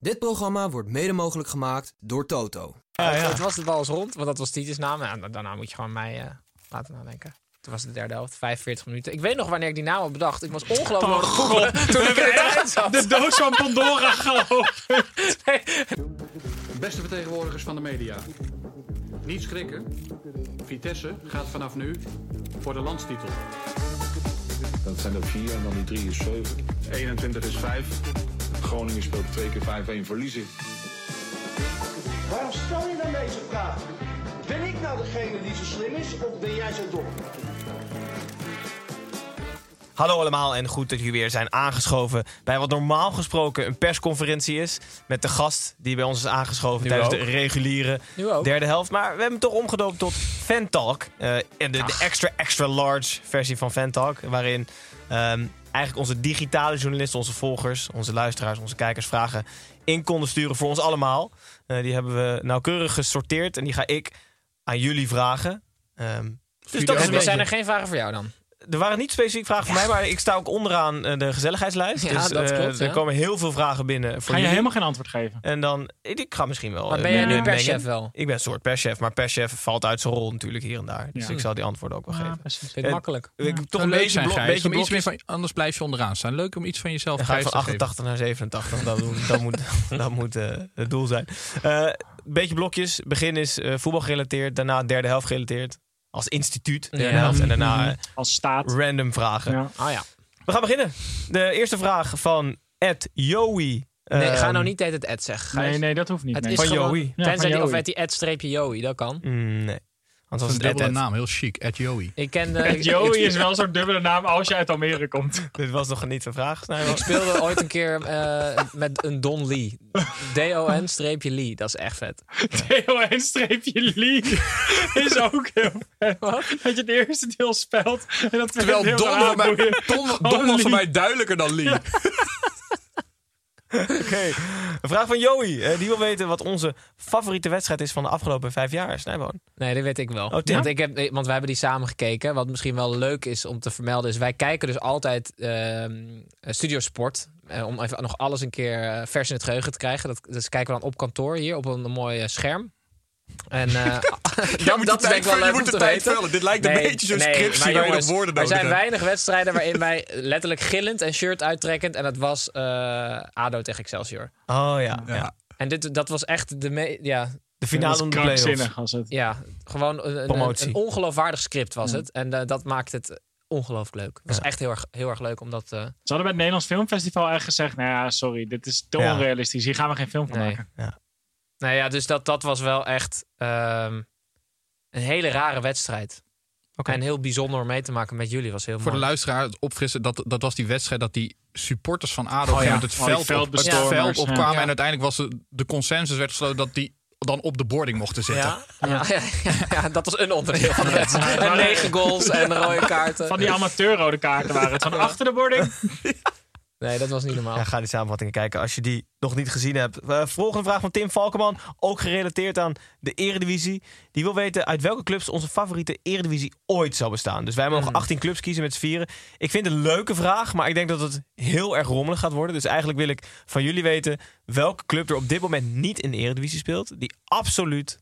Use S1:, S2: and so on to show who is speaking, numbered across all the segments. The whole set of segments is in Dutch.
S1: Dit programma wordt mede mogelijk gemaakt door Toto.
S2: Het was het bal eens rond, want dat was Tietjes naam. En da- daarna moet je gewoon mij eh, laten nadenken. Toen was het de derde helft, 45 minuten. Ik weet nog wanneer ik die naam had bedacht. Ik was ongelooflijk aan het googelen toen ik erin zat.
S3: De doos van Pandora geopend.
S2: Nee,
S4: Beste vertegenwoordigers van de media. Niet schrikken. Vitesse gaat vanaf nu voor de landstitel.
S5: Dat zijn er vier en dan die drie is zeven. 21 is vijf. Groningen speelt twee keer 5-1 verliezen.
S6: Waarom stel je nou deze vraag? Ben ik nou degene die zo slim is of ben jij zo dom?
S7: Hallo allemaal en goed dat jullie weer zijn aangeschoven bij wat normaal gesproken een persconferentie is. Met de gast die bij ons is aangeschoven
S2: Nu
S7: tijdens
S2: ook.
S7: de reguliere
S2: Nu ook.
S7: derde helft. Maar we hebben hem toch omgedoopt tot Fan Talk. Eh, en de, de extra, extra large versie van Fan Talk. Waarin ehm, eigenlijk onze digitale journalisten, onze volgers, onze luisteraars, onze kijkers vragen in konden sturen voor ons allemaal. Eh, die hebben we nauwkeurig gesorteerd en die ga ik aan jullie vragen. Ehm, dus dat is een
S2: Er zijn
S7: beetje...
S2: er geen vragen voor jou
S3: Oh,
S2: dan.
S7: Er waren niet specifiek vragen voor mij, maar ik sta ook onderaan eh, de gezelligheidslijst.
S2: Ja,
S7: dus
S2: dat
S7: eh,
S2: klopt,
S7: er
S2: ja.
S7: komen heel veel vragen binnen. Voor
S3: Ga je
S7: jullie.
S3: helemaal geen antwoord geven?
S7: En dan, ik ik ga misschien wel.
S2: Maar
S7: eh,
S2: ben jij
S7: mee-
S2: nu
S7: mengen.
S2: perschef wel?
S7: Ik ben een soort perschef, maar perschef valt uit zijn rol natuurlijk hier en daar. Dus
S3: Ja.
S7: ik zal die antwoorden ook wel
S3: Ja,
S7: geven.
S3: precies.
S2: Vind
S7: Eh,
S2: ik makkelijk.
S7: Ik heb toch
S8: Zou
S7: een
S8: leuk
S7: beetje,
S8: zijn,
S7: blok-
S8: Gijs,
S7: beetje
S8: om iets meer
S7: blokjes.
S8: van, anders blijf je onderaan staan. Leuk om iets van jezelf
S7: Dan ga ik
S8: prijs
S7: van
S8: te geven.
S7: 88 naar 87. Dat, moet- dat moet, dat moet eh, het doel zijn. Een beetje blokjes. Begin is eh, voetbal gerelateerd. Daarna derde helft gerelateerd. Als instituut. Derde
S2: Ja.
S7: helft. En daarna eh,
S8: Mhm.
S3: Als staat.
S7: random vragen.
S3: Ja.
S2: Ah ja.
S7: We gaan beginnen. De eerste vraag van Ed Joey.
S2: Nee, ga
S7: Ehm,
S2: nou niet de hele tijd Ed zeggen. Gijs.
S3: eh, Nee, nee, dat hoeft niet.
S2: Het
S3: nee.
S2: is
S7: Van
S2: gewoon,
S7: Joey.
S3: Ja,
S2: Tenzij
S3: van
S2: die, of
S3: Joey.
S2: heet die Ed streepje Joey, dat kan.
S7: mm, nee. Anders
S8: Dat
S7: was
S8: is een
S7: het Ed
S8: dubbele
S7: Ed.
S8: naam, heel chic. At Joey.
S2: Ik kende...
S3: Ed
S2: ik-
S3: Joey
S2: ik-
S3: is wel een soort dubbele naam als je uit Almere komt.
S7: Dit was nog niet een vraag. Nee, wel.
S2: Ik speelde ooit een keer eh, met een Don Lee. D-O-N streepje Lee. Dat is echt vet.
S3: TON-Lee is ook heel vet.
S2: Wat?
S3: Dat je het eerste deel spelt en dat tweede
S8: Terwijl
S3: deel Oh,
S8: Don,
S3: eraan
S8: voor mij,
S3: doe je.
S8: Don,
S3: Gewoon
S8: Don was voor
S3: Lee.
S8: mij duidelijker dan Lee.
S7: Oké. Een vraag van Joey. Eh, die wil weten wat onze favoriete wedstrijd is van de afgelopen vijf jaar. Snijboon.
S2: Nee, dat weet ik
S8: Oh,
S2: wel.
S7: Tim.
S2: want, ik heb, eh, want wij hebben die samen gekeken. Wat misschien wel leuk is om te vermelden, is wij kijken dus altijd ehm, eh, Studio Sport. Eh, om even nog alles een keer eh, vers in het geheugen te krijgen. Dat, dus kijken we dan op kantoor hier op een, mooi eh, scherm. En eh, dat, dat is denk ik wel leuk om te weten.
S8: Dit lijkt
S2: Nee, nee, maar jongens, Er zijn weinig wedstrijden waarin wij letterlijk gillend en shirt uittrekkend. En dat was eh, ADO tegen Excelsior.
S7: Oh ja. ja.
S2: En dit, dat was echt de... me- ja,
S7: De
S3: Dat
S7: finale
S3: is
S7: van de playoffs.
S3: krankzinnig als het.
S2: ja, gewoon een, een,
S7: Promotie.
S2: een ongeloofwaardig script was het. En eh, dat maakt het ongelooflijk leuk. Het was echt heel erg, heel erg leuk, omdat... eh
S3: Ze hadden bij het Nederlands Filmfestival echt gezegd, nou ja, sorry, dit is te
S7: Ja.
S3: onrealistisch. Hier gaan we geen film van
S2: Nee.
S3: maken.
S2: nou ja, dus dat, dat was wel echt ehm, een hele rare wedstrijd. En heel bijzonder om mee te maken met jullie was heel
S8: Voor de
S2: mooi.
S8: luisteraar, het opfrissen, dat, dat was die wedstrijd dat die supporters van ADO
S3: ja.
S8: met het
S3: Al die
S8: Oh, veld, op, het
S3: veldbestormers,
S8: veld
S3: ja.
S8: opkwamen.
S2: Ja.
S8: En uiteindelijk was de, de consensus werd gesloten dat die dan op de boarding mochten zitten.
S2: ja, ja, ja, ja, dat was een onderdeel van de wedstrijd. En negen goals en rode kaarten.
S3: Van die amateurrode kaarten waren het. Van achter de boarding.
S2: Nee, dat was niet normaal.
S7: Ja, ga die samenvattingen kijken als je die nog niet gezien hebt. Eh, volgende vraag van Tim Valkenman. Ook gerelateerd aan de Eredivisie. Die wil weten uit welke clubs onze favoriete Eredivisie ooit zou bestaan. Dus wij mogen
S8: Hmm.
S7: 18 clubs kiezen met z'n vieren. Ik vind het een leuke vraag, maar ik denk dat het heel erg rommelig gaat worden. Dus eigenlijk wil ik van jullie weten welke club er op dit moment niet in de Eredivisie speelt. Die absoluut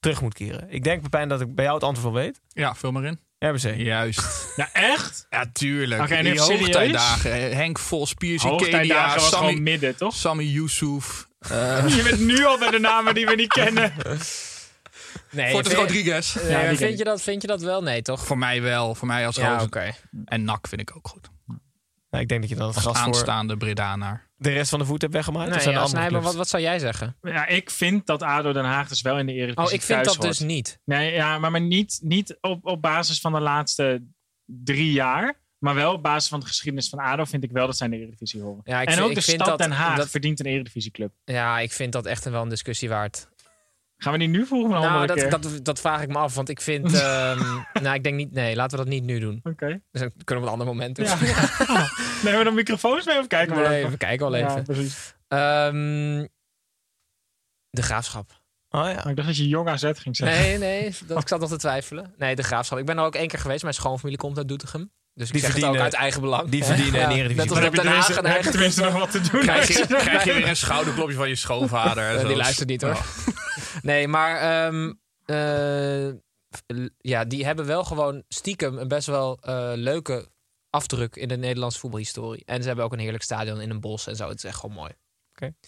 S7: terug moet keren. Ik denk, Pepijn, dat ik bij jou het antwoord wel weet.
S8: Ja, vul maar in.
S7: RBC.
S8: Juist.
S3: Ja, echt?
S8: Ja, tuurlijk.
S3: Oké, en
S8: die
S3: even serieus?
S8: hoogtijdagen. eh, Henk Vos, Piers Ikeda,
S3: Hoogtijdagen was
S8: Sammy, eh,
S3: gewoon midden, toch?
S8: Sammy Yusuf,
S3: Je bent nu al bij de namen die we niet kennen.
S2: Nee,
S8: Fortes
S2: vind-
S8: Rodriguez.
S2: Nee,
S3: Ja,
S2: maar
S3: die ken
S2: vind,
S3: ik.
S2: je dat, vind je dat wel? Nee, toch?
S8: Voor mij wel. Voor mij als
S2: Ja, oké.
S8: Rozen. En Nak vind ik ook goed.
S7: Nou, ik denk dat je dan het
S8: Als
S7: gras voor
S8: aanstaande Bredanaar.
S7: de rest van de voet hebt weggemaakt.
S2: Nee,
S7: of zijn
S2: ja,
S7: er andere
S2: Snijboom, wat,
S7: clubs?
S2: wat zou jij zeggen?
S3: Ja, ik vind dat ADO Den Haag dus wel in de Eredivisie
S2: Oh, ik vind
S3: thuis
S2: dat
S3: hoort.
S2: dus niet.
S3: Nee, ja, maar, maar niet, niet op, op basis van de laatste drie jaar. Maar wel op basis van de geschiedenis van ADO vind ik wel dat zij in de Eredivisie horen.
S2: Ja, ik
S3: en
S2: vind-
S3: ook
S2: ik
S3: de
S2: vind
S3: stad
S2: dat-
S3: Den Haag
S2: dat-
S3: verdient een Eredivisieclub.
S2: Ja, ik vind dat echt een- wel een discussie waard.
S3: Gaan we die nu vroegen? Nou,
S2: Nou,
S3: andere
S2: dat,
S3: keer?
S2: dat, dat vraag ik me af, want ik vind... ehm, nou, ik denk niet... Nee, laten we dat niet nu doen.
S3: Oké.
S2: Dus dan kunnen we een ander moment doen.
S3: Ja. Nemen we dan microfoons mee of kijken we
S2: nee,
S3: dat-
S2: we kijken wel
S3: Ja,
S2: even.
S3: precies.
S2: Ehm, de Graafschap.
S7: Oh ja.
S3: Maar ik dacht dat je jong AZ ging zeggen.
S2: Nee, nee,
S3: Oh.
S2: dat, ik zat nog te twijfelen. Nee, de Graafschap. Ik ben er ook één keer geweest. Mijn schoonfamilie komt uit Doetinchem. Dus ik
S7: Die
S2: zeg het ook
S7: verdienen-
S2: uit eigen belang.
S7: die verdienen
S2: Ja,
S7: in de Eredivisie.
S2: Net
S3: Dan
S2: als
S3: heb
S2: dat
S3: je
S2: Den Haag
S3: tenminste,
S2: een
S3: dan heb je
S2: eigen-
S3: tenminste nog wat te doen.
S8: Krijg je, krijg je weer een schouderklopje van je schoonvader. en
S2: Eh,
S8: zo.
S2: die luistert niet hoor.
S8: Oh.
S2: Nee, maar ehm, eh, l- ja, die hebben wel gewoon stiekem een best wel eh, leuke afdruk in de Nederlandse voetbalhistorie. En ze hebben ook een heerlijk stadion in een bos en zo. Het is echt gewoon mooi.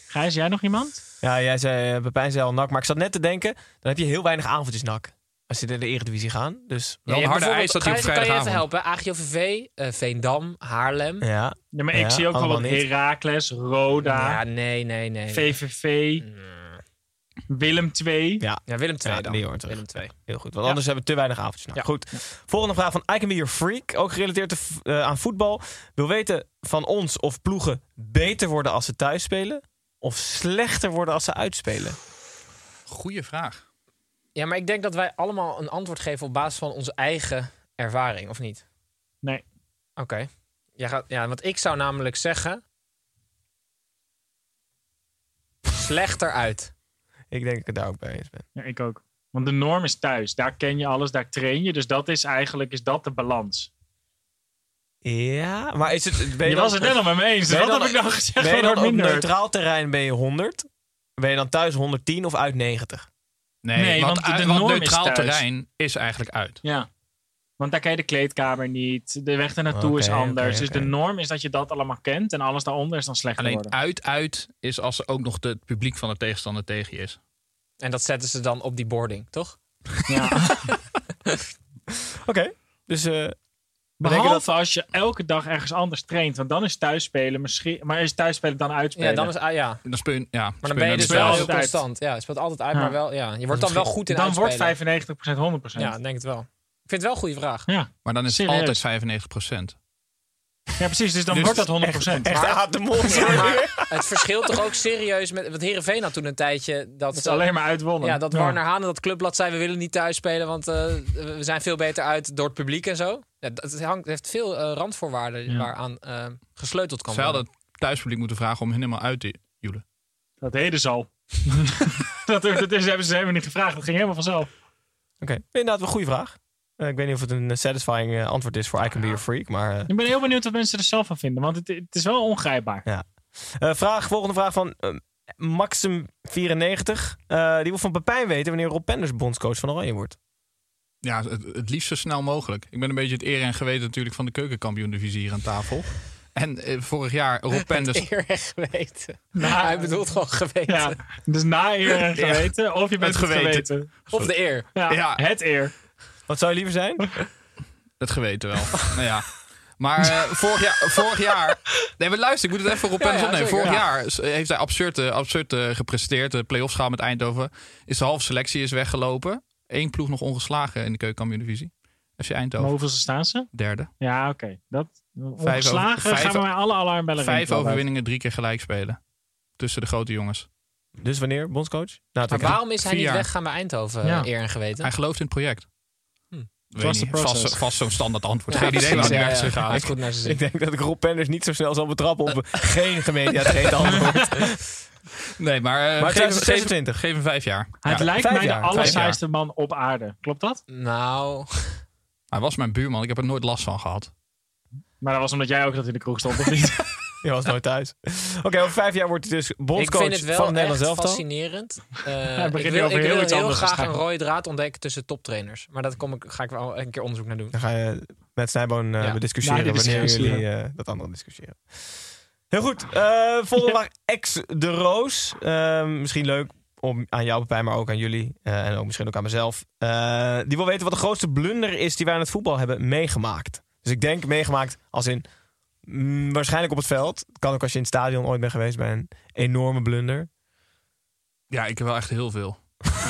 S3: Gijs, jij nog iemand?
S7: ja, jij zei eh, bij Pijn zei al nak. Maar ik zat net te denken, dan heb je heel weinig avondjes nak. Als je naar de Eredivisie gaan. Dus
S8: Wel een
S2: Ja,
S8: harde
S2: bijvoorbeeld-
S8: eis dat hij op
S2: Gijs, Kan je even
S8: vrijdagavond...
S2: helpen? AGOVV, eh Veendam, Haarlem.
S7: ja.
S3: Ja, maar
S7: Ja,
S3: ik zie ook wel
S7: allemaal
S3: wat
S7: niet.
S3: Heracles, Roda,
S2: Ja, nee, nee, nee.
S3: VVV, Willem II.
S7: Ja.
S2: ja, Willem II
S7: Ja,
S2: dan.
S7: die hoort er.
S2: Willem II.
S7: Heel goed, want anders hebben we te weinig avondjes. Nou,
S2: Ja.
S7: Goed. Volgende vraag van I Can Be Your Freak. Ook gerelateerd te v- eh, aan voetbal. Wil weten van ons of ploegen beter worden als ze thuis spelen. Of slechter worden als ze uitspelen.
S8: Goeie vraag.
S2: Ja, maar ik denk dat wij allemaal een antwoord geven op basis van onze eigen ervaring, of niet?
S3: Nee.
S2: Oké. Jij gaat- Ja, want ik zou namelijk zeggen... Slechter uit.
S7: Ik denk dat ik het daar ook bij eens ben.
S3: Ja, ik ook. Want de norm is thuis. Daar ken je alles, daar train je. Dus dat is eigenlijk is dat de balans.
S7: Ja, maar is het... Ben
S3: Je,
S7: je, dan-
S3: was het net al met me eens. Dus
S7: Ben je
S3: wat heb
S7: dan-
S3: ik nou gezegd?
S7: Ben
S3: Wat
S7: je dan
S3: wordt
S7: op
S3: minder?
S7: neutraal terrein ben je 100? Ben je dan thuis 110 of uit 90?
S8: Nee,
S3: Nee,
S8: want,
S3: want de
S8: uit-
S3: norm is
S8: neutraal
S3: thuis.
S8: terrein is eigenlijk uit.
S3: Ja. Want daar ken je de kleedkamer niet. De weg ernaartoe is
S7: Oké, oké,
S3: anders. dus
S7: oké.
S3: de norm is dat je dat allemaal kent. En alles daaronder is dan slecht
S8: Alleen
S3: geworden.
S8: uit-uit is als er ook nog de- het publiek van de tegenstander tegen je is.
S2: En dat zetten ze dan op die boarding, toch?
S3: Ja.
S7: Oké. Dus eh,
S3: Behalve
S7: dat-
S3: als je elke dag ergens anders traint. Want dan is thuisspelen misschien... Maar is thuisspelen dan uitspelen?
S2: Ja, dan is, ah, ja. Maar
S8: Dan speel je, ja, speel
S2: dan
S8: je
S2: ben je
S8: net
S2: dus
S8: als
S2: wel
S3: thuis.
S2: heel
S3: Altijd.
S2: constant. Ja, je speelt altijd uit,
S3: Ja.
S2: maar wel... Ja. Je wordt dan wel goed in
S3: Dan wordt
S2: uitspelen.
S3: 95% 100%.
S2: Ja, ik denk het wel. Ik vind het wel een goede vraag.
S3: ja.
S8: Maar dan is het
S3: Serieus.
S8: altijd 95 procent.
S3: Ja, precies. Dus dan wordt dat 100%.
S7: echt aap de mond.
S2: Ja, maar het verschilt toch ook serieus met... Want Heerenveen had toen een tijdje... Dat, eh,
S3: Dat is alleen maar uitwonnen.
S2: Ja, dat Warner Hanen, dat clubblad zei... we willen niet thuis spelen, want eh, we zijn veel beter uit door het publiek en zo. Ja, dat hangt, heeft veel eh, randvoorwaarden
S3: Ja.
S2: waaraan eh, gesleuteld kan
S8: Zij
S2: worden.
S8: hadden het thuispubliek moeten vragen om hen helemaal uit te joelen.
S3: Dat deden ze al. dat, dat is, hebben ze helemaal niet gevraagd. Dat ging helemaal vanzelf.
S7: Oké, inderdaad, wel een goede vraag. Eh, ik weet niet of het een eh, satisfying eh, antwoord is voor I Can Be Your Freak, maar... eh,
S3: Ik ben heel benieuwd wat mensen er zelf van vinden. Want het, het is wel ongrijpbaar.
S7: Eh, vraag, volgende vraag van eh, Maxim94. Eh, die wil van Pepijn weten wanneer Rob Penders bondscoach van Oranje wordt.
S8: Ja, het, het liefst zo snel mogelijk. Ik ben een beetje het eer en geweten natuurlijk van de keukenkampioen-divisie hier aan tafel. En eh, vorig jaar Rob Penders...
S2: Eer en geweten. Hij bedoelt gewoon geweten.
S3: Ja, dus na eer en
S8: Ja.
S3: geweten. Of je bent
S8: Het
S3: het geweten.
S8: geweten.
S2: Of de eer.
S3: Ja,
S8: Ja.
S3: Het eer.
S7: Wat zou je liever zijn?
S8: Het geweten wel. nou ja. Maar eh, vorig, jaar, vorig jaar. Nee, maar luister, ik moet het even voor Rob
S2: Ja,
S8: Penders
S2: ja,
S8: opnemen.
S2: zeker.
S8: Vorig jaar is- heeft hij absurd, eh, absurd eh, gepresteerd. De play-offs gaan met Eindhoven. Is de halve selectie is weggelopen. Eén ploeg nog ongeslagen in de keukenkampioen-divisie. FC
S3: Maar
S8: Eindhoven,
S3: hoeveel staan ze?
S8: derde.
S3: Ja, oké. Dat. Ongeslagen
S8: over-
S3: gaan
S8: vijf-
S3: we bij alle alarmbellen
S8: Vijf
S3: rinkelen.
S8: overwinningen, drie keer gelijk spelen. Tussen de grote jongens.
S7: Dus wanneer, bondscoach? Nou,
S2: Maar waarom is hij
S8: Vier
S2: niet
S8: jaar.
S2: weggegaan bij Eindhoven,
S3: Ja.
S2: eer en geweten?
S8: Hij gelooft in het project. Weet
S3: was
S8: niet,
S3: de process.
S8: vast, vast zo'n standaard antwoord. Geen idee waar hij weg is gegaan.
S2: Hij is goed naar zijn
S7: Ik
S2: zin.
S7: denk dat ik Rob Penders niet zo snel zal betrappen op
S2: Eh.
S7: geen gemeente. Ja, het geen antwoord.
S8: Nee, maar, eh,
S7: Maar
S8: geef, hem-
S7: 2026.
S8: geef hem vijf jaar.
S3: Het
S8: Ja.
S3: lijkt
S7: vijf
S3: mij de
S7: jaar.
S3: allersaaiste man op aarde. Klopt dat?
S2: Nou,
S8: Hij was mijn buurman. Ik heb er nooit last van gehad.
S3: Maar dat was omdat jij ook dat in de kroeg stond, of niet?
S7: Je was nooit thuis. Oké, over vijf jaar wordt hij dus
S2: ik vind
S7: bondscoach
S2: het
S7: van
S2: wel
S7: het Nederlands
S2: echt
S7: elftal.
S2: fascinerend. Eh,
S3: begint
S2: ik
S3: nu
S2: wil,
S3: over
S2: ik
S3: heel
S2: wil
S3: iets
S2: heel
S3: anders te
S2: graag een
S3: schrijven.
S2: rode draad ontdekken tussen toptrainers. Maar daar kom ik, ga ik wel een keer onderzoek naar doen.
S7: Dan ga je met Snijboon eh
S2: Ja.
S3: Ja,
S7: bediscussiëren
S3: die
S7: wanneer
S3: discussiëren.
S7: jullie eh, dat andere discussiëren. Heel goed. Eh, volgende vraag. Ex de Roos. Eh, misschien leuk om aan jou, Pepijn, maar ook aan jullie. eh, en ook misschien ook aan mezelf. Eh, die wil weten wat de grootste blunder is die wij aan het voetbal hebben meegemaakt. Dus ik denk meegemaakt als in... mm, waarschijnlijk op het veld. Het kan ook als je in het stadion ooit bent geweest bij een enorme blunder.
S8: Ja, ik heb wel echt heel veel.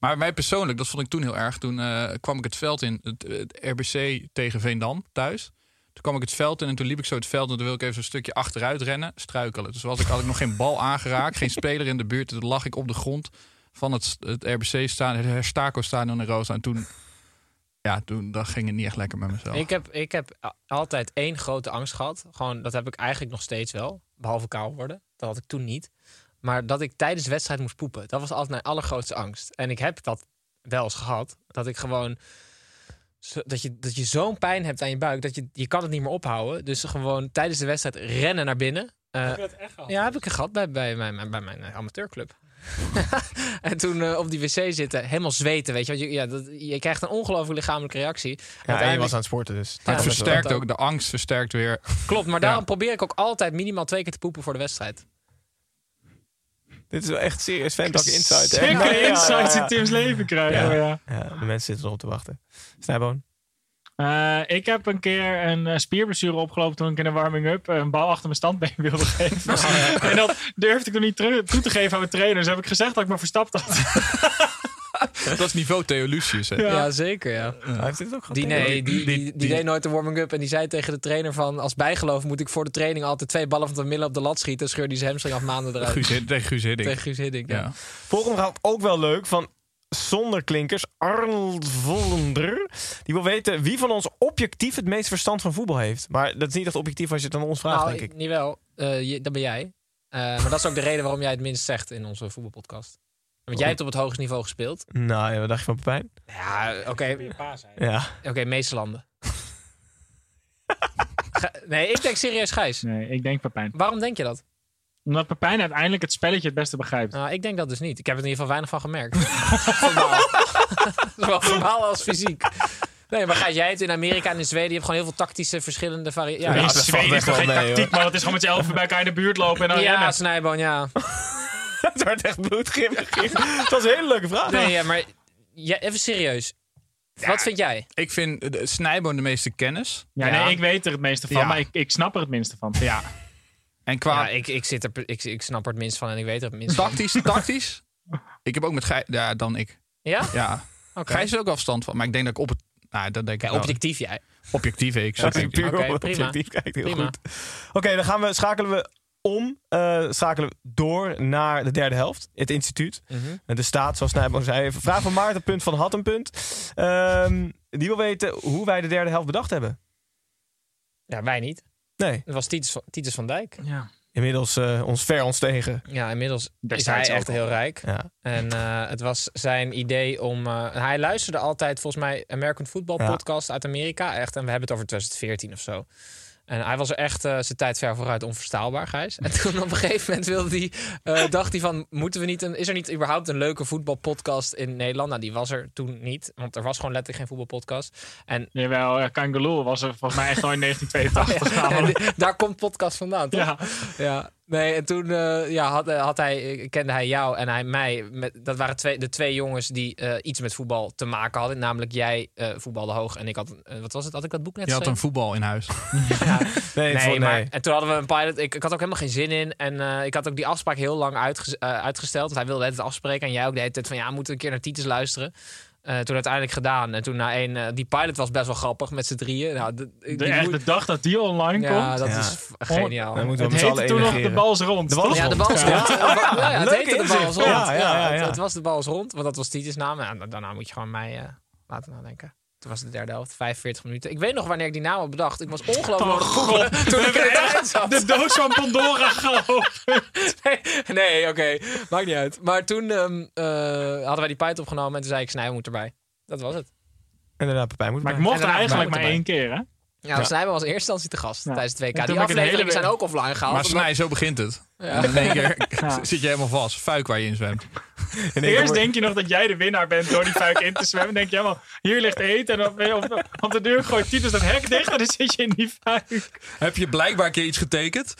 S8: maar mij persoonlijk, dat vond ik toen heel erg. Toen eh, kwam ik het veld in, het, het RBC tegen Veendam thuis. Toen kwam ik het veld in en toen liep ik zo het veld en toen wilde ik even zo'n stukje achteruit rennen, struikelen. Dus was ik, had ik nog geen bal aangeraakt, geen speler in de buurt. Toen lag ik op de grond van het, het RBC-stadion, het Herstaco-stadion in Roos. En toen, ja, toen dat ging het niet echt lekker met mezelf.
S2: Ik heb, ik heb a- altijd één grote angst gehad. Gewoon, dat heb ik eigenlijk nog steeds wel. Behalve kaal worden. Dat had ik toen niet. Maar dat ik tijdens de wedstrijd moest poepen. Dat was altijd mijn allergrootste angst. En ik heb dat wel eens gehad. Dat ik gewoon... zo- Dat je, dat je zo'n pijn hebt aan je buik. Dat je, je kan het niet meer ophouden. Dus gewoon tijdens de wedstrijd rennen naar binnen. Eh, ja, heb ik er gehad bij, bij, mijn, bij mijn eh, amateurclub. en toen eh, op die wc zitten, helemaal zweten, weet je. Want je, ja, dat, je krijgt een ongelooflijke lichamelijke reactie.
S7: Ja, en je
S2: Uiteindelijk-
S7: was aan het sporten, dus...
S8: Maar het
S2: Ja,
S8: versterkt
S2: dat ook.
S8: ook, de angst versterkt weer.
S2: Klopt, maar daarom probeer ik ook altijd minimaal twee keer te poepen voor de wedstrijd.
S7: Dit is wel echt serieus fanblok insight. hè?
S3: Zeker
S7: Ja, ja, ja,
S3: insights
S7: ja.
S3: in Tim's leven krijgen.
S7: Ja.
S3: Ja. Ja.
S7: Ja, de mensen zitten erop te wachten. Snijboon.
S3: Eh, ik heb een keer een eh, spierblessure opgelopen toen ik in de warming-up eh, een bal achter mijn standbeen wilde geven.
S7: Oh,
S3: en dat durfde ik nog niet terug- toe te geven aan mijn trainer. Dus heb ik gezegd dat ik me verstapt had.
S8: Dat is niveau Theo Lucius. Hè.
S3: Ja.
S2: zeker, ja.
S7: Hij heeft dit ook gehad.
S2: Die, nee, die, die, die
S7: die-
S2: deed nooit de warming-up en die zei tegen de trainer van... als bijgeloof moet ik voor de training altijd twee ballen van de midden op de lat schieten... scheur die zijn hamstring af maanden eruit.
S8: Guus, Hidd- tegen Guus Hiddink.
S2: Tegen Guus Hiddink, ja.
S8: Ja.
S7: Volgende gaat ook wel leuk van zonder klinkers. Arnold Vollender. Die wil weten wie van ons objectief het meest verstand van voetbal heeft. Maar dat is niet echt objectief als je het aan ons vraagt,
S2: Nou,
S7: denk ik.
S2: Niet wel, Eh, je- dat ben jij. Eh, maar dat is ook de reden waarom jij het minst zegt in onze voetbalpodcast. Want jij hebt op het hoogste niveau gespeeld.
S7: Nou ja, wat dacht je van Pepijn?
S2: Ja, oké.
S7: Ja.
S2: Oké, meeste landen. Ge- nee, ik denk serieus Gijs.
S3: Nee, ik denk Pepijn.
S2: Waarom denk je dat?
S3: Omdat Pepijn uiteindelijk het spelletje het beste begrijpt.
S2: Nou, ik denk dat dus niet. Ik heb er in ieder geval weinig van gemerkt. Verbaal. Zowel verbaal als fysiek. Nee, maar ga jij het in Amerika en in Zweden? Je hebt gewoon heel veel tactische verschillende
S3: Ja,
S2: variaties.
S3: in
S7: dat valt
S3: Zweden is
S7: echt
S3: toch
S7: wel
S3: geen
S7: mee, hoor.
S3: tactiek, maar dat is gewoon met z'n elfen bij elkaar in de buurt lopen en
S2: Ja,
S3: dan
S2: ja
S3: rennen.
S2: Snijboon, ja.
S7: het werd echt bloedgrimmig. Het was een hele leuke vraag.
S2: Nee, ja, maar ja, even serieus. Wat vind jij?
S8: Ik vind eh, de- Snijboon de meeste kennis.
S3: Ja,
S2: Ja.
S3: nee, ik weet er het meeste van,
S8: Ja.
S3: maar ik, ik snap er het minste van.
S8: Ja. En qua
S2: Ja, Ah, ik, ik, zit er, ik, ik snap er het minst van en ik weet er het minst van.
S8: tactisch, tactisch. Ik heb ook met Gij... Ja, dan ik.
S2: Ja?
S8: Ja.
S2: Oké.
S8: Gijs is ook afstand van. Maar ik denk dat ik op het... Nou, dat denk ik
S2: Kijk,
S8: wel.
S2: objectief jij.
S8: Objectief, hè, ik.
S7: Ja,
S8: zeg
S7: dat ik
S8: objectief.
S7: puur
S2: Oké,
S7: op
S2: prima.
S7: objectief kijkt heel
S2: Prima.
S7: goed. Oké, dan gaan we, schakelen we om, eh, schakelen we door naar de derde helft. Het instituut.
S2: Mhm.
S7: De staat, zoals Nijboom zei. even. Vraag van Maarten, punt van had een punt. Ehm, die wil weten hoe wij de derde helft bedacht hebben.
S2: Ja, wij niet.
S7: Nee,
S2: Het was Titus van, Titus van Dijk.
S3: Ja.
S7: inmiddels eh, ons ver ons tegen.
S2: Ja, inmiddels is
S3: Destijds
S2: hij
S3: ook
S2: echt
S3: al.
S2: heel rijk.
S7: Ja.
S2: En eh, het was zijn idee om. eh, hij luisterde altijd volgens mij American Football
S7: Ja.
S2: Podcast uit Amerika. Echt. En we hebben het over 2014 of zo. En hij was er echt eh, zijn tijd ver vooruit onverstaalbaar, Gijs. En toen op een gegeven moment wilde hij, eh, dacht hij van... Moeten we niet een, is er niet überhaupt een leuke voetbalpodcast in Nederland? Nou, die was er toen niet. Want er was gewoon letterlijk geen voetbalpodcast. En,
S3: Jawel, eh, Kangaloo was er volgens mij echt al in 1982.
S2: en
S3: namelijk.
S2: die- daar komt podcast vandaan, toch?
S3: ja.
S2: Ja, nee, en toen eh, ja, had, had hij, eh, kende hij jou en hij mij. Met, dat waren twee, de twee jongens die eh, iets met voetbal te maken hadden. Namelijk jij eh, voetbalde hoog en ik had, eh, wat was het, had ik dat boek net
S8: Je had een
S2: geschreven?
S8: voetbal in huis.
S7: Nee, het
S2: Nee,
S7: wordt-
S2: maar en toen hadden we een pilot. Ik, ik had ook helemaal geen zin in. En eh, ik had ook die afspraak heel lang uitge- eh, uitgesteld. Want hij wilde het afspreken. En jij ook de hele tijd van ja, we moeten een keer naar Titus luisteren. Eh, toen uiteindelijk gedaan. En toen na één, eh, die pilot was best wel grappig met z'n drieën. Nou, d- die
S3: De, echt,
S2: moet-
S3: de dag dat die online
S2: ja,
S3: komt.
S2: dat
S7: Ja.
S2: is f- geniaal.
S7: Dan moeten we
S3: Het
S7: met z'n
S3: heette
S7: allen
S3: toen nog de
S7: enigeren.
S3: bal is rond.
S7: De bal is
S2: Ja, de bal is rond. Ja, ja, het
S7: Leuk
S2: heette de
S7: inzicht.
S2: bal is rond.
S7: Ja, ja, ja,
S2: het-
S7: ja.
S2: Het was de bal is rond, want dat was Titus naam. En da- daarna moet je gewoon mij eh, laten nadenken. Toen was de derde helft, 45 minuten. Ik weet nog wanneer ik die naam had bedacht. Ik was ongelooflijk aan het googelen toen ik in de trein zat.
S3: De doos van Pandora geopend.
S2: Nee, nee, oké. Maakt niet uit. Maar toen ehm, eh, hadden wij die pijt opgenomen en toen zei ik, Snijboom moet erbij. Dat was het.
S7: En daarna Pepijn moet
S3: Maar ik
S7: bij.
S3: mocht
S2: En daarna
S3: eigenlijk
S2: moeten
S3: maar
S2: wij.
S3: één keer, hè?
S2: Ja, Snijboom was in eerste instantie te gast
S3: Ja.
S2: tijdens het WK.
S3: En toen
S2: Die
S3: heb ik het
S2: afleveringen
S3: hele-
S2: zijn ook offline gehaald.
S8: Maar
S2: omdat-
S8: Snij, zo begint het.
S2: Ja.
S8: En in één keer
S3: Ja.
S8: zit je helemaal vast. Fuik waar je in zwemt.
S3: Eerst denk je nog dat jij de winnaar bent door die fuik in te zwemmen. denk je, ja, man, hier ligt eten. En dan, op, op de deur gooit Titus dat hek dicht en dan zit je in die fuik.
S8: Heb je blijkbaar een keer iets getekend?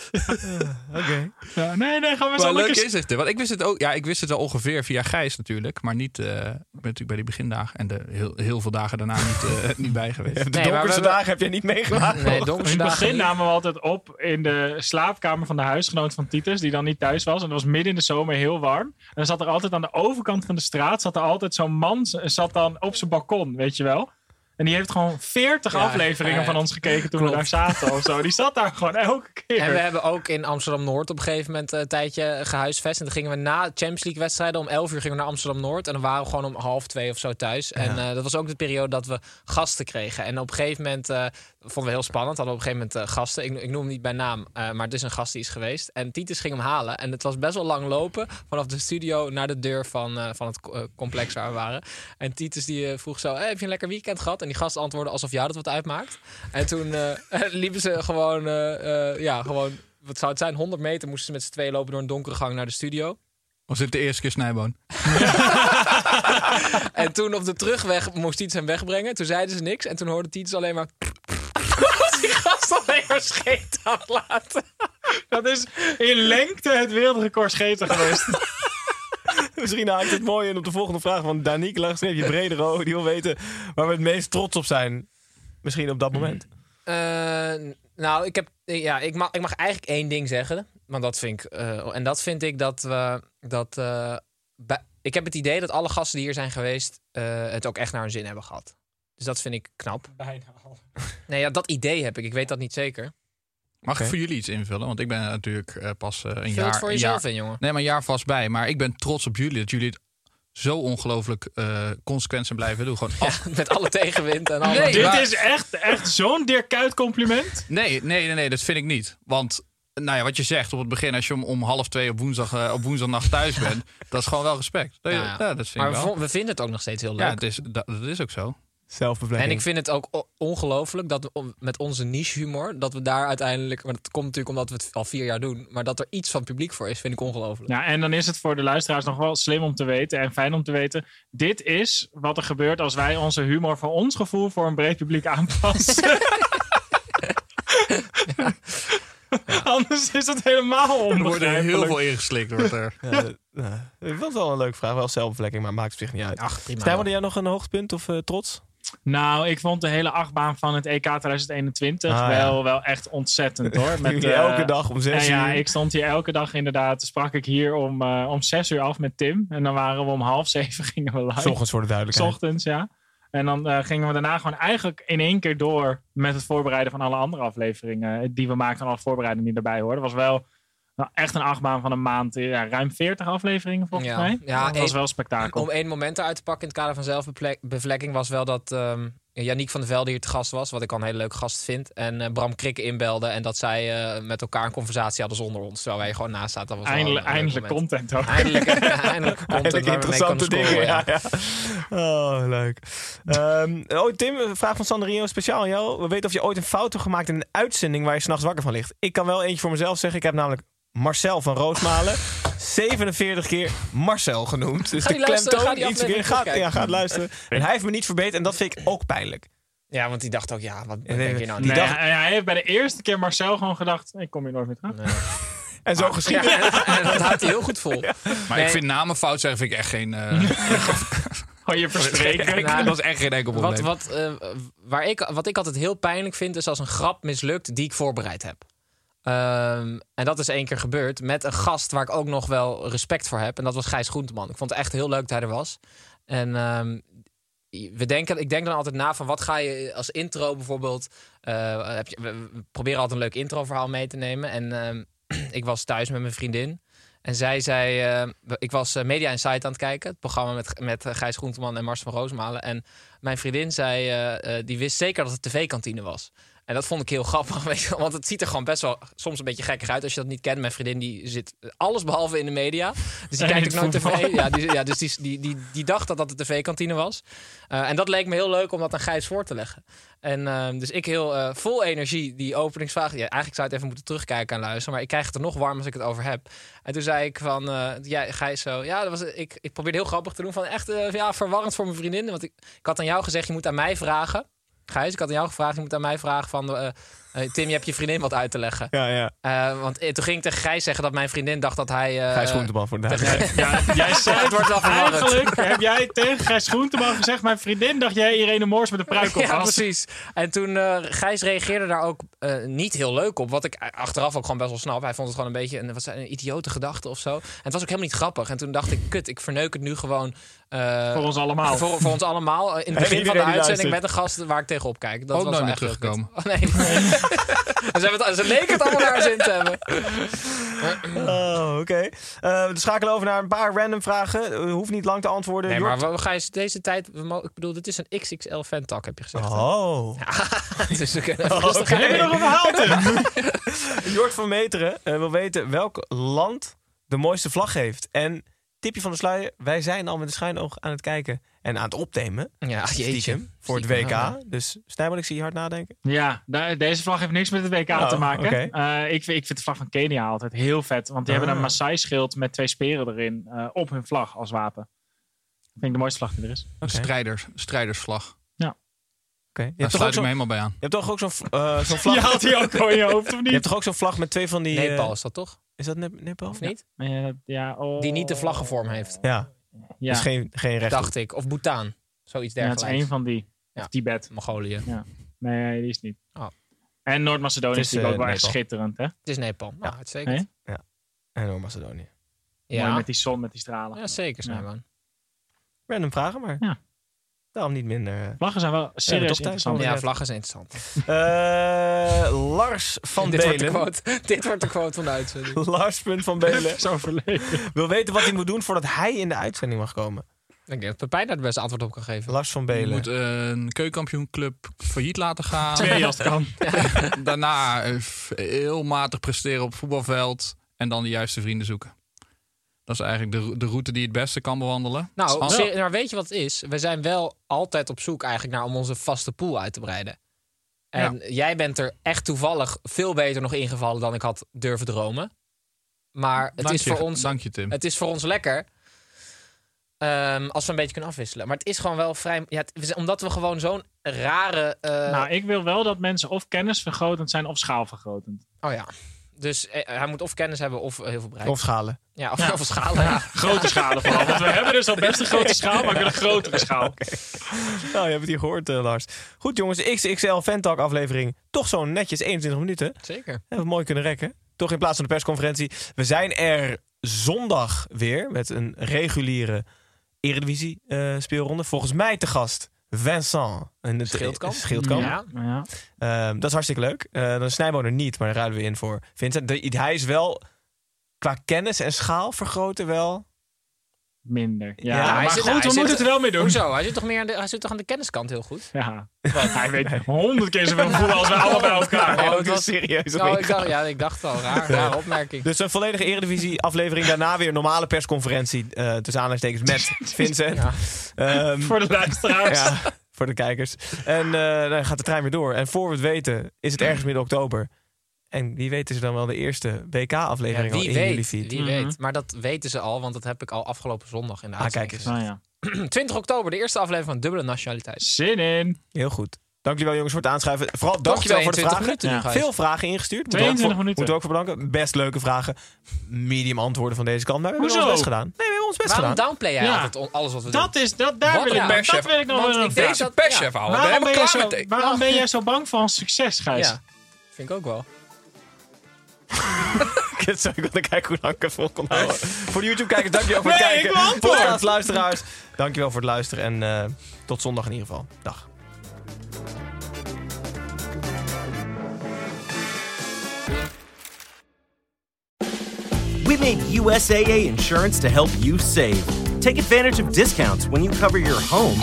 S7: Oké.
S3: Ja, nee, nee, gaan we
S8: Wat
S3: zo
S8: leuk
S3: lekker...
S8: is het. hè? Want ik wist het ook. Ja, ik wist het wel ongeveer via Gijs natuurlijk. Maar niet. eh, ik ben natuurlijk bij die begindagen. En de heel, heel veel dagen daarna niet, eh, niet bij geweest.
S7: De
S2: maar we
S7: donkerste
S2: hebben-
S7: dagen heb jij niet meegemaakt.
S2: Nee,
S3: In
S2: donkerse
S3: het
S2: dagen
S3: Dus begin
S2: niet.
S3: namen we altijd op in de slaapkamer van de huisgenoot van Titus, die dan niet thuis was. En dat was midden in de zomer heel warm. En dan zat er altijd aan de overkant van de straat, zat er altijd zo'n man, z- zat dan op zijn balkon, weet je wel. En die heeft gewoon 40
S2: Ja,
S3: afleveringen
S2: ja, ja.
S3: van ons gekeken toen we
S2: Klopt.
S3: daar zaten of zo. Die zat daar gewoon elke keer.
S2: En we hebben ook in Amsterdam-Noord op een gegeven moment eh, een tijdje gehuisvest. En dan gingen we na Champions League wedstrijden om 11 uur gingen we naar Amsterdam-Noord. En dan waren we gewoon om half twee of zo thuis. En eh, dat was ook de periode dat we gasten kregen. En op een gegeven moment, eh, dat vonden we heel spannend, hadden we op een gegeven moment eh, gasten. Ik, ik noem hem niet bij naam, eh, maar het is een gast die is geweest. En Titus ging hem halen. En het was best wel lang lopen vanaf de studio naar de deur van, eh, van het co- eh, complex waar we waren. En Titus die eh, vroeg zo, hey, heb je een lekker weekend gehad? En die gast antwoordde alsof jou dat wat uitmaakt. En toen eh, liepen ze gewoon, eh, eh, ja, gewoon, wat zou het zijn, 100 meter moesten ze met z'n twee lopen door een donkere gang naar de studio.
S8: Was dit de eerste keer snijboon?
S2: En toen op de terugweg moest Titus hem wegbrengen. Toen zeiden ze niks en toen hoorde Titus alleen maar... Als die gast alleen maar scheet aan laten.
S3: Dat is in lengte het wereldrecord scheten geweest.
S7: Misschien haakt het mooi in op de volgende vraag van Danique Lagsneefje Bredero. Die wil weten waar we het meest trots op zijn. Misschien op dat
S2: Hmm.
S7: moment.
S2: Eh, nou, ik, heb, ja, ik, mag, ik mag eigenlijk één ding zeggen. Want dat vind ik. eh, en dat vind ik dat we. Dat, eh, bij- ik heb het idee dat alle gasten die hier zijn geweest. eh, het ook echt naar hun zin hebben gehad. Dus dat vind ik knap.
S3: Bijna al.
S2: Nee, ja, dat idee heb ik. Ik weet dat niet zeker.
S8: Mag ik voor jullie iets invullen? Want ik ben er natuurlijk eh, pas eh, een
S2: Vul
S8: jaar.
S2: het voor
S8: een
S2: jezelf
S8: jaar-
S2: in, jongen.
S8: Nee, maar een jaar vast bij. Maar ik ben trots op jullie dat jullie het zo ongelooflijk eh, consequent zijn blijven doen. Gewoon af-
S2: Met alle tegenwind en alle.
S8: Nee,
S3: Dit
S8: maar-
S3: is echt, echt zo'n Dirk Kuyt compliment.
S8: Nee, nee, nee, nee, dat vind ik niet. Want nou ja, wat je zegt op het begin, als je om, om half twee op, woensdag, eh, op woensdagnacht thuis bent, dat is gewoon wel respect. Dat,
S2: Ja,
S8: Nou ja,
S2: ja.
S8: dat vind
S2: maar
S8: ik
S2: we,
S8: wel.
S2: vo- we vinden het ook nog steeds heel leuk.
S8: ja, het is, dat, dat is ook zo.
S7: Zelfbevlekking.
S2: En ik vind het ook o- ongelooflijk dat we on- met onze niche humor, dat we daar uiteindelijk, maar dat komt natuurlijk omdat we het al vier jaar doen, maar dat er iets van publiek voor is, vind ik ongelooflijk.
S3: Ja, Nou, en dan is het voor de luisteraars nog wel slim om te weten en fijn om te weten. Dit is wat er gebeurt als wij onze humor voor ons gevoel voor een breed publiek aanpassen. Anders is het helemaal
S8: Er worden
S3: onbegrijpelijk.
S8: heel veel ingeslikt. Wordt er.
S7: Ja, dat- ja. Ik vond het wel een leuke vraag. Wel zelfbevlekking, maar maakt op zich niet uit.
S2: Ach, prima.
S7: Stijn, had jij nog een hoogtepunt of eh, trots?
S3: Nou, ik vond de hele achtbaan van het E EK 2021
S7: Ah, ja.
S3: wel, wel echt ontzettend hoor. Met,
S7: Jullie
S3: eh,
S7: elke dag om
S3: Nou
S7: zes
S3: ja,
S7: uur.
S3: ik stond hier elke dag inderdaad. Sprak ik hier om, eh, om zes uur af met Tim. En dan waren we om half zeven gingen we live.
S7: 's ochtends voor de
S3: S
S7: duidelijkheid.
S3: ochtends, ja. En dan eh, gingen we daarna gewoon eigenlijk in één keer door met het voorbereiden van alle andere afleveringen. eh, Die we maakten en alle voorbereidingen die erbij hoorden. was wel nou, echt een achtbaan van een maand. eh, Ja, ruim 40 afleveringen volgens
S2: Ja.
S3: mij.
S2: Ja,
S3: dat was
S2: eh,
S3: wel spektakel.
S2: Om één moment eruit te pakken in het kader van zelfbevlekking was wel dat ehm Yannick van der Velde hier te gast was, wat ik al een hele leuke gast vind. En eh, Bram Krikke inbelde en dat zij eh, met elkaar een conversatie hadden zonder ons, terwijl wij gewoon naast zaten. Dat was wel
S3: Eindelijk,
S2: een leuk
S3: eindelijk
S2: moment.
S3: content ook.
S2: Eindelijk, eindelijk komt het waar we
S7: Eigenlijk
S2: mee
S7: interessante
S2: kunnen
S7: dingen.
S2: scoren,
S7: ja. ja. Oh, leuk. Ehm, oh, Tim, een vraag van Sanderino speciaal aan jou. We weten of je ooit een fout hebt gemaakt in een uitzending waar je s'nachts wakker van ligt. Ik kan wel eentje voor mezelf zeggen. Ik heb namelijk Marcel van Roosmalen 47 keer Marcel genoemd. Dus
S2: Ga
S7: de
S2: je luisteren, ga
S7: klemtoon
S2: die
S7: iets keer
S2: aflevering
S7: gaat, ja,
S2: terugkijken.
S7: gaat luisteren. En hij heeft me niet verbeterd en dat vind ik ook pijnlijk.
S2: Ja, want die dacht ook, ja, wat
S7: Nee,
S2: denk je nou?
S7: die
S2: Die
S3: Nee,
S7: dag-
S3: hij- hij heeft bij de eerste keer Marcel gewoon gedacht: ik kom hier nooit meer terug.
S7: En
S2: Ah,
S7: zo geschieden.
S2: en dat houdt hij heel goed vol.
S8: Maar ik
S2: Nee.
S8: vind namen fout zeggen vind ik echt geen. eh,
S3: Gewoon Oh, je verspreken.
S2: Nou,
S8: dat is echt geen enkel probleem.
S2: Wat, wat, eh, waar ik, wat ik altijd heel pijnlijk vind, is als een grap mislukt die ik voorbereid heb. Ehm, en dat is één keer gebeurd met een gast waar ik ook nog wel respect voor heb. En dat was Gijs Groenteman. Ik vond het echt heel leuk dat hij er was. En ehm, we denken, ik denk dan altijd na van wat ga je als intro bijvoorbeeld. eh, heb je, we, we proberen altijd een leuk introverhaal mee te nemen. En ehm, ik was thuis met mijn vriendin. En zij zei, eh, ik was eh, Media Insight aan het kijken. Het programma met, met eh, Gijs Groenteman en Mars van Roosmalen. En mijn vriendin zei, eh, eh, die wist zeker dat het tv-kantine was. En dat vond ik heel grappig, weet je, wel, want het ziet er gewoon best wel soms een beetje gekkig uit als je dat niet kent. Mijn vriendin die zit alles behalve in de media, dus die
S3: En
S2: kijkt
S3: in
S2: ook nooit
S3: het voetbal.
S2: tv. Ja, die, ja, dus die, die, die, die dacht dat dat de tv-kantine was. Eh, en dat leek me heel leuk om dat aan Gijs voor te leggen. En ehm, dus ik heel eh, vol energie die openingsvraag. Ja, eigenlijk zou je het even moeten terugkijken en luisteren. Maar ik krijg het er nog warm als ik het over heb. En toen zei ik van, eh ja, Gijs zo. Ja, dat was, ik, ik probeerde heel grappig te doen. Van echt eh, ja, verwarrend voor mijn vriendin. Want ik, ik had aan jou gezegd, je moet aan mij vragen. Gijs, ik had aan jou gevraagd, je moet aan mij vragen van... eh, eh, Tim, je hebt je vriendin wat uit te leggen.
S7: Ja, ja.
S2: Eh, want eh, toen ging ik tegen Gijs zeggen dat mijn vriendin dacht dat hij... eh,
S7: Gijs Groenteman voor de
S3: Ja, jij zei
S2: Het wordt wel verwarrend.
S3: Eigenlijk heb jij tegen Gijs Groenteman gezegd... mijn vriendin dacht jij Irene Moors met een pruik op
S2: Ja,
S3: had.
S2: precies. En toen eh, Gijs reageerde daar ook eh, niet heel leuk op. Wat ik eh, achteraf ook gewoon best wel snap. Hij vond het gewoon een beetje een, wat zei, een idiote gedachte of zo. En het was ook helemaal niet grappig. En toen dacht ik, kut, ik verneuk het nu gewoon. eh,
S3: Voor ons allemaal.
S2: Voor, voor ons allemaal. eh, In het begin
S7: En
S2: van de
S7: iedereen die
S2: uitzending met
S7: luistert.
S2: een gast waar ik tegenop kijk. Dat
S8: Ook
S2: was
S8: nooit
S2: wel
S8: meer
S2: echt heel kut. Oh,
S8: teruggekomen.
S2: nee. ze, hebben het, ze leken het allemaal naar hun zin te hebben.
S7: Oh, oké. Eh, we schakelen over naar een paar random vragen. Eh, hoeft niet lang te antwoorden.
S2: Nee,
S7: Jort-
S2: maar we- Gijs, deze tijd... we mo- Ik bedoel, dit is een XXL fan-tak, heb je gezegd.
S7: Oh.
S2: Dus we kunnen even rustig
S3: Heb je
S2: aan.
S3: nog een verhaal, Tim?
S7: Jort van Meteren eh, wil weten welk land de mooiste vlag heeft. En tipje van de sluier, wij zijn al met een schijnoog aan het kijken en aan het opnemen.
S2: Ja, jeetje.
S7: Stiekem, voor het
S2: Stiekem,
S7: WK.
S2: ja.
S7: Dus Snijman, ik zie je hard nadenken.
S3: Ja, daar- deze vlag heeft niks met het WK
S7: Oh,
S3: te maken.
S7: oké.
S3: Eh, ik, vind- ik vind de vlag van Kenia altijd heel vet. Want die hebben een Maasai-schild met twee speren erin eh, op hun vlag als wapen. Vind ik de mooiste vlag die er is.
S8: Een strijders, strijdersvlag.
S7: Oké. Je,
S8: Daar
S7: hebt toch ook
S8: sluit ik
S7: zo-
S8: me
S7: je
S8: helemaal bij aan.
S7: hebt toch ook zo'n eh, zo'n vlag...
S3: Je haalt die ook al in je hoofd, of
S7: Je hebt
S3: niet?
S7: toch ook zo'n vlag met twee van die... eh,
S2: Nepal is dat toch?
S7: is dat Nep- Nepal?
S2: Of niet?
S3: Eh, ja, oh.
S2: Die niet de vlaggenvorm heeft,
S7: Ja,
S3: Ja,
S7: dus geen, geen recht.
S2: dacht ik. Of Bhutan. Zoiets
S3: ja, het
S2: dergelijks.
S3: is één van die. Of
S2: Ja.
S3: Tibet.
S2: Mongolië.
S3: Nee, die is niet.
S2: Oh.
S3: En Noord-Macedonië
S7: Het
S3: is
S7: is,
S3: natuurlijk ook wel
S7: eh,
S3: echt
S7: Nepal.
S3: schitterend, hè?
S2: Het is Nepal. Nou, uitstekend.
S3: Nee?
S7: En door Macedonië.
S3: Mooi
S2: Ja.
S3: met die zon, met die stralen.
S2: ja, zeker, Snijman.
S7: Random vragen, maar
S3: Ja.
S7: daarom niet minder... eh,
S3: Vlaggen zijn wel
S7: toch
S3: serieus
S7: thuis
S3: interessant.
S2: Ja,
S7: inderdaad.
S2: vlaggen is interessant.
S7: Eh, Lars van
S2: Dit wordt, de
S7: Belen.
S2: quote, dit wordt de quote van de uitzending.
S7: Lars punt van Belen
S3: Zo verlegen.
S7: wil weten wat hij moet doen voordat hij in de uitzending mag komen.
S2: Ik denk dat Pepijn daar het beste antwoord op kan geven.
S7: Lars van
S8: Je
S7: Belen.
S8: moet eh, een keukenkampioenclub failliet laten gaan.
S3: Twee als het kan.
S8: Daarna eh, f- heel matig presteren op het voetbalveld. En dan de juiste vrienden zoeken. Dat is eigenlijk de, ro- de route die het beste kan bewandelen.
S2: Nou,
S8: Als-
S2: serie- maar weet je wat het is? We zijn wel altijd op zoek eigenlijk naar om onze vaste pool uit te breiden. En jij bent er echt toevallig veel beter nog ingevallen dan ik had durven dromen. Maar het
S8: dank
S2: is
S8: je,
S2: voor ons
S8: Dank je, Tim.
S2: Het is voor ons lekker. ehm, als we een beetje kunnen afwisselen. Maar het is gewoon wel vrij. Ja, het- we zijn- omdat we gewoon zo'n rare. eh,
S3: nou, ik wil wel dat mensen of kennisvergrotend zijn of schaalvergrotend.
S2: Oh ja. Dus eh, hij moet of kennis hebben of eh, heel veel bereik.
S7: Of schalen.
S2: ja, of, of schalen. Ja.
S3: Grote schalen vooral. Want we hebben dus al best een grote schaal, maar ik wil een grotere schaal.
S7: Nou, je hebt het hier gehoord, eh, Lars. Goed, jongens, de XXL Fantalk aflevering. Toch zo netjes 21 minuten.
S2: Zeker.
S7: Hebben we mooi kunnen rekken. Toch in plaats van de persconferentie. We zijn er zondag weer met een reguliere Eredivisie-speelronde. Volgens mij te gast Vincent. En het
S2: Schildkamp.
S7: Schildkamp.
S2: Ja.
S3: Ja.
S7: Ehm, dat is hartstikke leuk. Eh, dan snijden we er niet, maar dan ruilen we in voor Vincent. De- hij is wel qua kennis en schaal vergroten
S2: Oh,
S7: wel.
S3: Minder. Ja,
S7: Ja, hij
S3: maar
S2: zit-
S3: goed,
S2: hij
S3: we
S2: zit-
S3: moeten het er wel mee doen.
S2: Hoezo? Hij zit toch meer aan de, hij zit toch aan de kenniskant heel goed?
S3: Ja. Hij weet honderd keer zoveel voelen als wij allemaal bij elkaar.
S2: Oh,
S7: Ook
S2: het
S7: een
S2: was-
S7: serieuze
S2: Oh, ik
S7: week.
S2: dacht, ja, ik dacht al. Raar, rare opmerking.
S7: Dus een volledige Eredivisie-aflevering. Daarna weer een normale persconferentie. eh tussen aanhalingstekens met Vincent.
S2: Ja.
S7: Ehm,
S3: Voor de luisteraars.
S7: ja, voor de kijkers. En eh, dan gaat de trein weer door. En voor we het weten is het ergens midden oktober. En wie weet is er dan wel de eerste
S2: Ja,
S7: WK-aflevering al
S2: wie
S7: in jullie
S2: weet,
S7: feed.
S2: wie weet. Maar dat weten ze al, want dat heb ik al afgelopen zondag in de
S7: Ah,
S2: uitzending
S7: kijk eens.
S3: Nou ja.
S2: gezien. 20 oktober, de eerste aflevering van Dubbele Nationaliteit.
S3: Zin in.
S7: Heel goed. Dank jullie wel jongens voor het aanschuiven. Vooral dankjewel voor de
S2: 22
S7: vragen.
S2: minuten nu,
S3: Ja.
S2: Gijs.
S7: Veel vragen ingestuurd. Moeten we ook
S3: 22
S7: voor-
S3: minuten.
S7: Moeten we ook voor bedanken. Best leuke vragen. Medium antwoorden van deze kant. Maar we hebben
S3: Hoezo?
S7: ons best gedaan. Nee, we hebben ons best
S2: Waarom
S7: gedaan.
S2: downplay jij
S3: Ja.
S2: altijd on- alles wat we doen?
S3: Dat is, dat, daar
S2: Wat
S3: wil
S2: een
S3: ik, dat
S8: perschef.
S3: wil ik nog
S2: Want
S3: wel
S2: ik
S3: een
S2: denk Oh,
S3: vraag.
S2: dat- ja.
S8: perschef houden. Daar
S3: Waarom,
S8: ben
S3: ben
S8: ik
S3: jij,
S8: klaar
S3: zo,
S8: met.
S3: waarom ben jij zo bang voor ons succes, Gijs?
S2: Ja, vind ik ook wel.
S7: Kut, sorry, Ik wilde kijken hoe lang ik het vol kon houden. voor de YouTube-kijkers, dankjewel voor het
S3: Nee, ik
S7: kijken.
S3: wil antwoord.
S7: Podcast luisteraars, dankjewel voor het luisteren. En eh, tot zondag in ieder geval. Dag.
S9: We made USAA insurance to help you save. Take advantage of discounts when you cover your home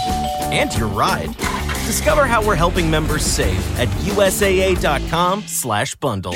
S9: and your ride.
S2: Discover how we're helping members save at USAA.com slash bundle.